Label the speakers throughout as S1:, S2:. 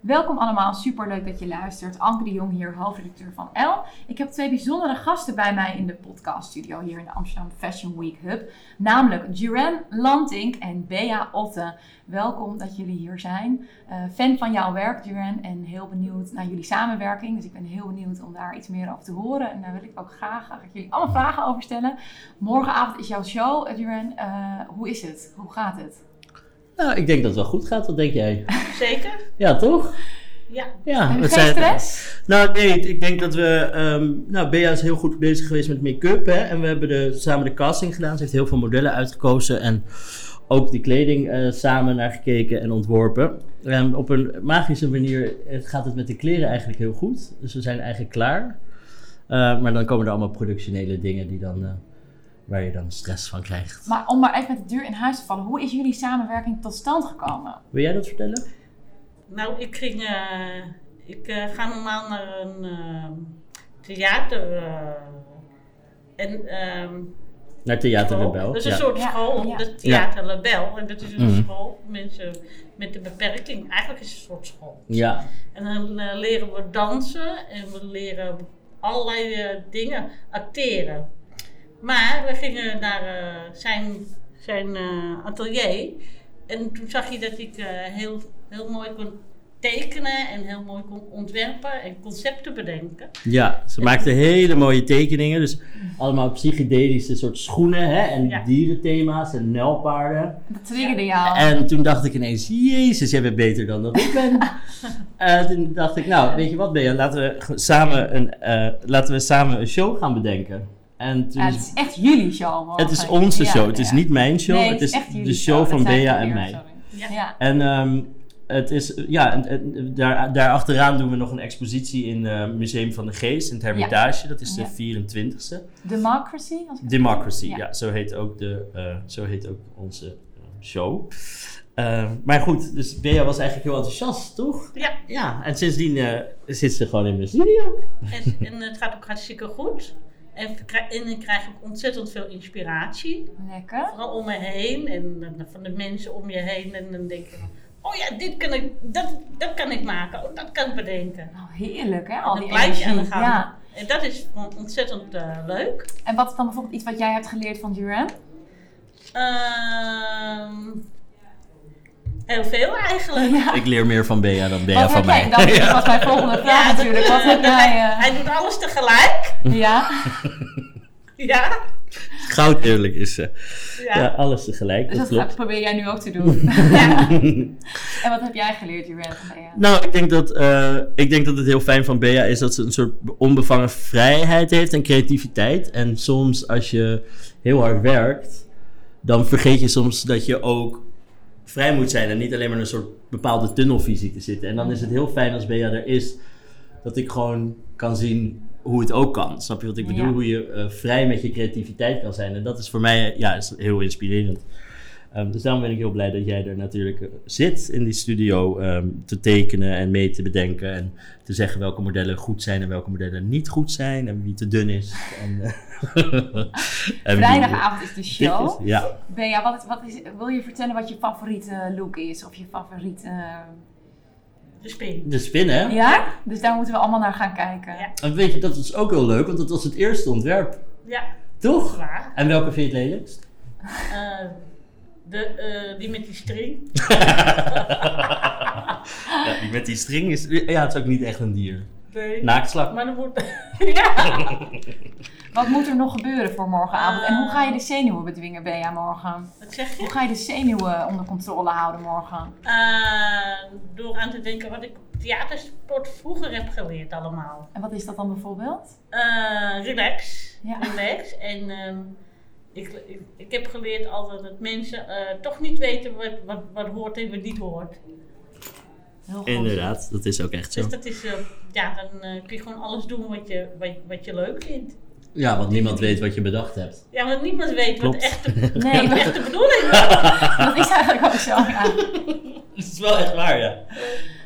S1: Welkom allemaal, superleuk dat je luistert. Anke de Jong hier, hoofdredacteur van El. Ik heb twee bijzondere gasten bij mij in de podcaststudio hier in de Amsterdam Fashion Week Hub. Namelijk Duran Lantink en Bea Otte. Welkom dat jullie hier zijn. Eh, fan van jouw werk, Duran, en heel benieuwd naar jullie samenwerking. Dus ik ben heel benieuwd om daar iets meer over te horen. En daar wil ik ook graag, ga ik jullie allemaal vragen over stellen. Morgenavond is jouw show, eh, Duran. Eh, hoe is het? Hoe gaat het?
S2: Nou, ik denk dat het wel goed gaat. Wat denk jij?
S3: Zeker?
S2: Ja, toch?
S3: Ja.
S2: Ja,
S1: Heb je
S2: we
S1: geen
S2: zijn-
S1: stress?
S2: Nou, ik weet niet. Ik denk dat we... ehm, nou, Bea is heel goed bezig geweest met make-up. Hè? En we hebben de, samen de casting gedaan. Ze heeft heel veel modellen uitgekozen. En ook die kleding eh, samen naar gekeken en ontworpen. En op een magische manier eh, gaat het met de kleren eigenlijk heel goed. Dus we zijn eigenlijk klaar. Eh, maar dan komen er allemaal productionele dingen die dan, eh, waar je dan stress van krijgt.
S1: Maar om maar even met de deur in huis te vallen, hoe is jullie samenwerking tot stand gekomen?
S2: Wil jij dat vertellen?
S3: Nou, ik ging. eh, ik eh, ga normaal naar een eh, theater. eh, en. ehm,
S2: Naar Theater
S3: school.
S2: Rebel.
S3: Oh, Dat is
S2: ja.
S3: een soort
S1: Ja,
S3: school,
S1: ja.
S3: de Theater Label. En dat is een
S2: Mhm.
S3: school voor mensen met een beperking. Eigenlijk is het een soort school.
S2: Ja,
S3: En dan eh, leren we dansen en we leren allerlei eh, dingen acteren. Maar we gingen naar eh, zijn, zijn eh, atelier en toen zag je dat ik eh, heel, heel mooi kon tekenen en heel mooi kon ontwerpen en concepten bedenken.
S2: Ja, ze maakte hele mooie tekeningen. Dus allemaal psychedelische soort schoenen hè, en
S3: Ja.
S2: dierenthema's en nijlpaarden.
S1: Dat triggerde jou.
S2: En toen dacht ik ineens, jezus, jij bent beter dan dat ik ben. En toen dacht ik, nou, weet je wat Bea, laten we, ge- samen een, eh, laten we samen een show gaan bedenken. En toen
S1: Ja,
S2: is-
S1: het is echt jullie show. morgen.
S2: het is onze
S1: Ja,
S2: show, het is
S1: ja.
S2: niet mijn show,
S1: Nee,
S2: het is
S1: echt jullie
S2: de show
S1: Dat
S2: van
S1: zei ik
S2: Bea en
S1: verkeerd,
S2: mij.
S1: sorry.
S3: Ja.
S1: Ja.
S2: En ehm, het is, ja, en, en daar, daarachteraan doen we nog een expositie in het Museum van de Geest, in het Hermitage. Dat is de
S1: Ja.
S2: 24e.
S1: Democracy? Als ik het-
S2: Democracy,
S1: Ja.
S2: ja. zo, heet ook de, eh, zo heet ook onze eh, show. Eh, maar goed, dus Bea was eigenlijk heel enthousiast, toch?
S3: Ja,
S2: Ja, en sindsdien eh, zit ze gewoon in mijn studio.
S3: en, en het gaat ook hartstikke goed. En, ik krij- en ik krijg ook ontzettend veel inspiratie.
S1: Lekker.
S3: Vooral om me heen en eh, van de mensen om je heen. En dan denk je, van, oh ja, dit kan ik, dat, dat kan ik maken, oh, dat kan ik bedenken.
S1: Nou, heerlijk hè, al
S3: En
S1: die
S3: dan blijf je aan de
S1: energie.
S3: gang.
S1: Ja.
S3: En dat is on- ontzettend eh, leuk.
S1: En wat is dan bijvoorbeeld iets wat jij hebt geleerd van Duran?
S3: Ehm, heel veel eigenlijk.
S1: Ja.
S2: Ik leer meer van Bea dan Bea
S1: wat
S2: van
S1: heb
S2: mij.
S1: jij? Dat
S2: Ja.
S1: was mijn volgende vraag
S3: dat-
S1: natuurlijk. Wat
S3: eh,
S1: heb
S3: dat
S1: jij...
S3: hij,
S1: eh,
S3: hij doet alles tegelijk.
S1: ja,
S3: Ja.
S2: Goud eerlijk is ze.
S3: ja.
S2: Ja, alles tegelijk,
S1: dus
S2: dat
S1: dat
S2: klopt.
S1: gaat- probeer jij nu ook te doen. En wat heb jij geleerd Duran van Bea?
S2: Nou, ik denk, dat, eh, ik denk dat het heel fijn van Bea is dat ze een soort onbevangen vrijheid heeft en creativiteit. En soms als je heel hard werkt, dan vergeet je soms dat je ook vrij moet zijn en niet alleen maar in een soort bepaalde tunnelvisie te zitten. En dan is het heel fijn als Bea er is, dat ik gewoon kan zien hoe het ook kan. Snap je wat ik bedoel?
S1: Ja.
S2: Hoe je eh, vrij met je creativiteit kan zijn. En dat is voor mij eh, ja, is heel inspirerend. Ehm, dus daarom ben ik heel blij dat jij er natuurlijk eh, zit in die studio ehm, te tekenen en mee te bedenken. En te zeggen welke modellen goed zijn en welke modellen niet goed zijn. En wie te dun is. En, eh, en wie
S1: Vrijdagavond is de
S2: dik is.
S1: show.
S2: Ja.
S1: Bea, wat, wat is, wil je vertellen wat je favoriete look is? Of je favoriete...
S3: De spin.
S2: De spin, hè?
S1: Ja? Dus daar moeten we allemaal naar gaan kijken.
S3: Ja.
S2: En weet je, dat is ook heel leuk, want dat was het eerste ontwerp.
S3: Ja,
S2: Toch?
S3: waar.
S2: En welke vind je het lelijkst?
S3: Eh, de, eh, die met die string.
S2: ja, die met die string is... Ja, het is ook niet echt een dier.
S3: Nee.
S2: Naakslak.
S3: Maar dan moet... ja.
S1: Wat moet er nog gebeuren voor morgenavond? En hoe ga je de
S3: Eh.
S1: zenuwen bedwingen, Bea, morgen?
S3: Wat zeg je?
S1: Hoe ga je de zenuwen onder controle houden morgen?
S3: Eh, door aan te denken wat ik op theatersport vroeger heb geleerd allemaal.
S1: En wat is dat dan bijvoorbeeld?
S3: Eh, relax.
S1: Ja.
S3: Relax. En ehm, ik, ik, ik heb geleerd altijd dat mensen eh, toch niet weten wat, wat, wat hoort en wat niet hoort.
S1: Heel goed.
S2: Inderdaad, dat is ook echt zo.
S3: Dus dat is, eh, ja, dan eh, kun je gewoon alles doen wat je, wat, wat je leuk vindt.
S2: Ja, want niemand weet wat je bedacht hebt.
S3: Ja, want niemand weet
S2: Klopt.
S3: wat echt de,
S1: Nee,
S3: wat
S1: dat,
S3: echt de bedoeling is.
S1: dat is eigenlijk ook zo. ja.
S2: Dat is wel echt waar, ja.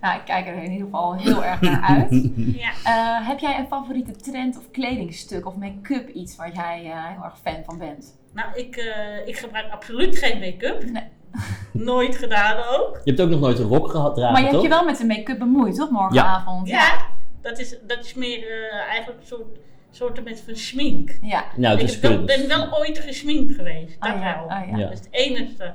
S1: Nou, ik kijk er in ieder geval heel erg naar uit.
S3: Ja.
S1: Eh, heb jij een favoriete trend of kledingstuk of make-up iets waar jij eh, heel erg fan van bent?
S3: Nou, ik, eh, ik gebruik absoluut geen make-up.
S1: Nee.
S3: Nooit gedaan ook.
S2: Je hebt ook nog nooit een rok gehad dragen,
S1: Maar je hebt
S2: toch?
S1: je wel met de make-up bemoeid, toch? Morgenavond.
S3: Ja, dat is, dat is meer eh, eigenlijk een soort, soort met van schmink.
S1: Ja.
S2: Nou, het
S3: Ik
S2: is
S3: heb wel-
S2: kunst.
S3: ben wel ooit gesminkt geweest, dat
S1: Ah, ja.
S3: wel.
S1: Ah, ja.
S2: Ja.
S3: Dat is het enigste.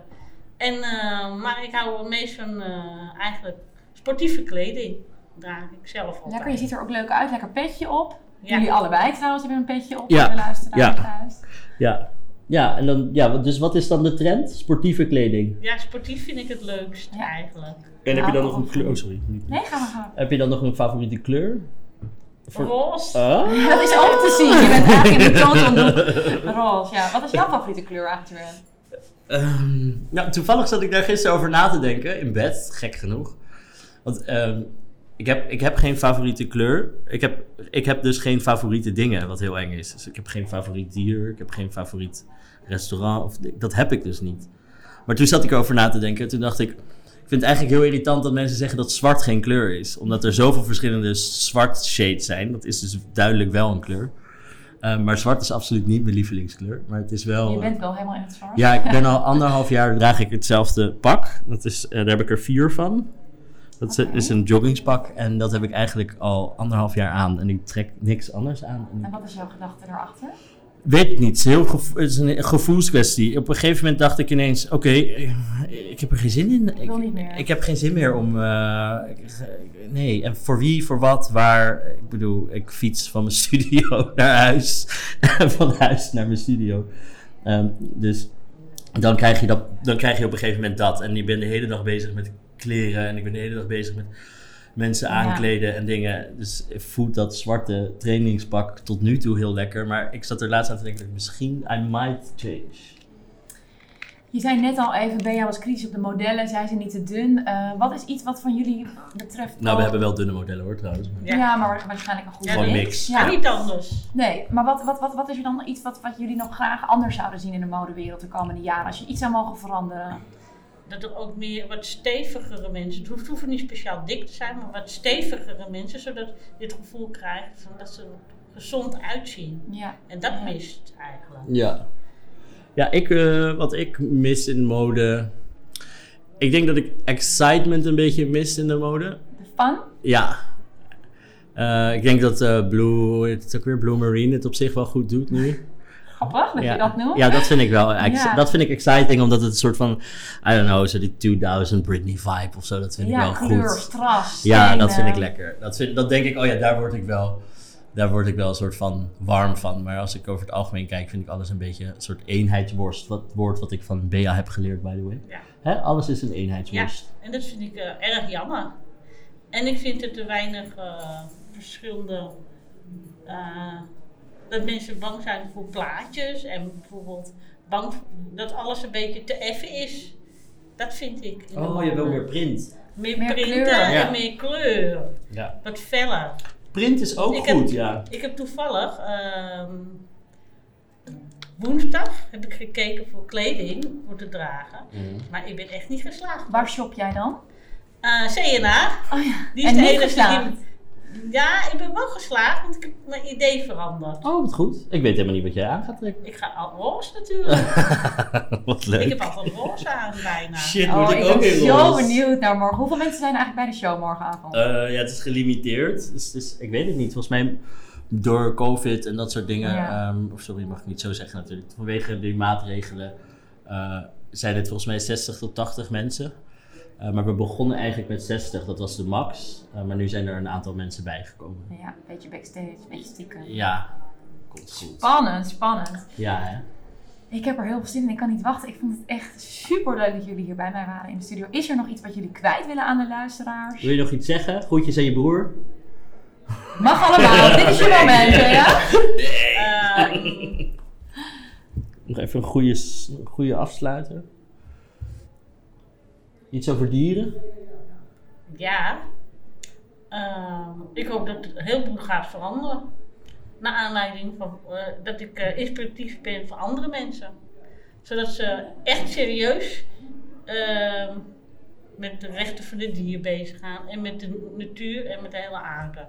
S3: En, eh, maar ik hou wel meest van eh, eigenlijk sportieve kleding. Draag ik zelf altijd.
S1: Lekker, je ziet er ook leuk uit. Lekker petje op.
S3: Ja.
S1: Jullie allebei trouwens hebben een petje op.
S2: Ja.
S1: voor De luisteraars
S2: Ja.
S1: thuis.
S2: Ja. Ja, en dan, ja, dus wat is dan de trend? Sportieve kleding.
S3: Ja, sportief vind ik het leukst
S1: Ja.
S3: eigenlijk.
S2: En
S1: heb je dan nog een kleur- oh,
S2: sorry.
S1: Nee, ga maar gaan.
S2: Heb je dan nog een favoriete kleur? Voor-
S3: Roze.
S2: Ah?
S1: Dat is ook te zien. Je bent eigenlijk in de total look. Roze, ja. Wat is jouw favoriete kleur eigenlijk? Joanne?
S2: Ehm, nou, toevallig zat ik daar gisteren over na te denken, in bed, gek genoeg. Want ehm, ik, heb, ik heb geen favoriete kleur. Ik heb, ik heb dus geen favoriete dingen, wat heel eng is. Dus ik heb geen favoriet dier, ik heb geen favoriet restaurant. Of, dat heb ik dus niet. Maar toen zat ik erover na te denken. Toen dacht ik, ik vind het eigenlijk heel irritant dat mensen zeggen dat zwart geen kleur is. Omdat er zoveel verschillende zwart shades zijn. Dat is dus duidelijk wel een kleur. Ehm, maar zwart is absoluut niet mijn lievelingskleur. Maar het is wel...
S1: Je
S2: eh,
S1: bent wel helemaal in het zwart.
S2: ja, ik ben al anderhalf jaar draag ik hetzelfde pak. Dat is, eh, daar heb ik er vier van. Dat is,
S1: Oké.
S2: is een joggingspak en dat heb ik eigenlijk al anderhalf jaar aan. En ik trek niks anders aan. En
S1: En
S2: ik-
S1: wat is jouw gedachte daarachter?
S2: weet ik niet, het is, heel gevo- het is een gevoelskwestie. Op een gegeven moment dacht ik ineens, oké, eh, ik heb er geen zin in. Ik,
S1: wil niet meer.
S2: ik heb geen zin meer om... eh, ik- nee, en voor wie, voor wat, waar. Ik bedoel, ik fiets van mijn studio naar huis. En van huis naar mijn studio. Ehm, dus dan krijg, je dat, dan krijg je op een gegeven moment dat. En ik ben de hele dag bezig met kleren. En ik ben de hele dag bezig met mensen
S1: Ja.
S2: aankleden en dingen. Dus ik voelt dat zwarte trainingspak tot nu toe heel lekker. Maar ik zat er laatst aan te denken, misschien I might change.
S1: Je zei net al even, Bea was kritisch op de modellen. Zij zijn niet te dun. Eh, wat is iets wat van jullie betreft...
S2: Nou, we hebben wel dunne modellen hoor trouwens. maar-
S1: Ja,
S3: Ja.
S1: maar waarschijnlijk een goede
S3: Ja,
S2: Gewoon
S1: mix.
S2: mix.
S1: Ja.
S3: Niet anders.
S1: Nee, maar wat, wat, wat, wat is er dan iets wat, wat jullie nog graag anders zouden zien in de modewereld de komende jaren? Als je iets zou mogen veranderen.
S3: Dat er ook meer wat stevigere mensen, het hoeft, hoeven niet speciaal dik te zijn, maar wat stevigere mensen, zodat je het gevoel krijgt van dat ze er gezond uitzien.
S1: Ja.
S3: En dat
S1: Ja.
S3: mist eigenlijk.
S2: Ja. Ja, ik, eh, wat ik mis in mode. Ik denk dat ik excitement een beetje mis in de mode.
S1: De fun?
S2: Ja. Eh, ik denk dat eh Blue, hoe heet het ook weer, Blue Marine het op zich wel goed doet nu.
S1: Grappig dat
S2: ja.
S1: je dat noemt.
S2: Ja, dat vind ik wel. ex-
S1: Ja.
S2: Dat vind ik exciting, omdat het een soort van, I don't know, zo die 2000 Britney vibe of zo, dat vind ik
S1: Ja,
S2: wel
S1: kleur,
S2: goed.
S1: strass.
S2: Ja,
S1: en,
S2: dat vind
S1: eh,
S2: ik lekker. Dat, vind, dat denk ik, oh ja, daar word ik wel. Daar word ik wel een soort van warm van. Maar als ik over het algemeen kijk, vind ik alles een beetje een soort eenheidsworst. Wat woord wat ik van Bea heb geleerd, by the way.
S3: Ja.
S2: Hè? Alles is een eenheidsworst.
S3: En dat vind ik eh, erg jammer. En ik vind dat er weinig eh, verschillende. eh, dat mensen bang zijn voor plaatjes en bijvoorbeeld bang v- dat alles een beetje te effen is. Dat vind ik. in de
S2: Oh, je hebt
S3: mode.
S2: wel weer print.
S3: Meer,
S1: Meer
S3: printen
S1: kleur.
S2: Ja.
S3: en meer kleur.
S2: Ja.
S3: Wat feller.
S2: Print is ook
S3: Ik heb-
S2: goed, ja.
S3: Ik heb toevallig ehm, woensdag heb ik gekeken voor kleding voor te dragen.
S2: Mhm.
S3: Maar ik ben echt niet geslaagd.
S1: Waar shop jij dan?
S3: Eh, CNA.
S1: Oh ja.
S3: Die is
S1: en
S3: de
S1: niet
S3: enige
S1: geslaagd.
S3: die- Ja, ik ben wel geslaagd, want ik heb mijn idee veranderd.
S2: Oh, wat goed. Ik weet helemaal niet wat jij aan gaat trekken.
S3: Ik ga al roze natuurlijk.
S2: wat
S3: ik
S2: leuk.
S3: heb altijd roze aan bijna.
S2: Shit, moet
S1: Oh,
S2: ik,
S1: ik
S2: ook
S1: ben
S2: in
S1: zo
S2: roze?
S1: benieuwd naar morgen. Hoeveel mensen zijn er eigenlijk bij de show morgenavond?
S2: Eh, ja, het is gelimiteerd. Dus, het is- ik weet het niet. Volgens mij door COVID en dat soort dingen.
S1: Ja.
S2: ehm, of sorry, mag ik niet zo zeggen natuurlijk. Vanwege die maatregelen eh, zijn het volgens mij 60 tot 80 mensen. Eh, maar we begonnen eigenlijk met 60, dat was de max. Eh, maar nu zijn er een aantal mensen bijgekomen.
S1: Ja, een beetje backstage, een beetje stiekem.
S2: Ja, komt goed.
S1: Spannend, spannend.
S2: Ja, hè?
S1: Ik heb er heel veel zin in. Ik kan niet wachten. Ik vond het echt super leuk dat jullie hier bij mij waren in de studio. Is er nog iets wat jullie kwijt willen aan de luisteraars?
S2: Wil je nog iets zeggen? Groetjes aan je broer?
S1: Mag allemaal. Dit is je moment, ja?
S3: Ehm,
S2: Nog even een goede, s- een goede afsluiter. Iets over dieren?
S3: ja. Ehm, ik hoop dat het heel veel gaat veranderen. Naar aanleiding van eh, dat ik eh, inspiratief ben voor andere mensen. Zodat ze echt serieus ehm, met de rechten van de dier bezig gaan. En met de natuur en met de hele aarde.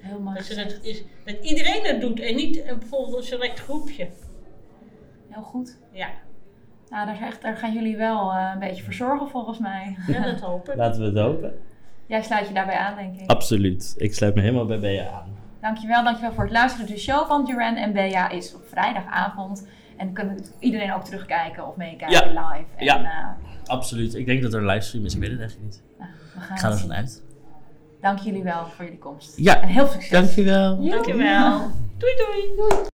S1: Heel mooi.
S3: Dat, ze dat,
S1: gezegd.
S3: is, dat iedereen dat doet en niet een, bijvoorbeeld een select groepje.
S1: Heel goed.
S3: Ja.
S1: Nou, daar, zegt- daar gaan jullie wel eh, een beetje voor zorgen volgens mij.
S3: Ja, dat hoop ik.
S2: Laten we het hopen.
S1: Jij sluit je daarbij aan, denk ik.
S2: Absoluut. Ik sluit me helemaal bij Bea aan.
S1: Dankjewel, dankjewel voor het luisteren. De show van Duran en Bea is op vrijdagavond. En dan kan iedereen ook terugkijken of meekijken live. En,
S2: Ja.
S1: eh,
S2: Absoluut. Ik denk dat er een livestream is. Ik weet het eigenlijk niet.
S1: nou, we
S2: Ik
S1: gaan
S2: ga
S1: het
S2: er
S1: zien.
S2: vanuit.
S1: Dank jullie wel voor jullie komst.
S2: Ja.
S1: En heel veel succes.
S2: Dankjewel.
S3: Dankjewel. Doei doei.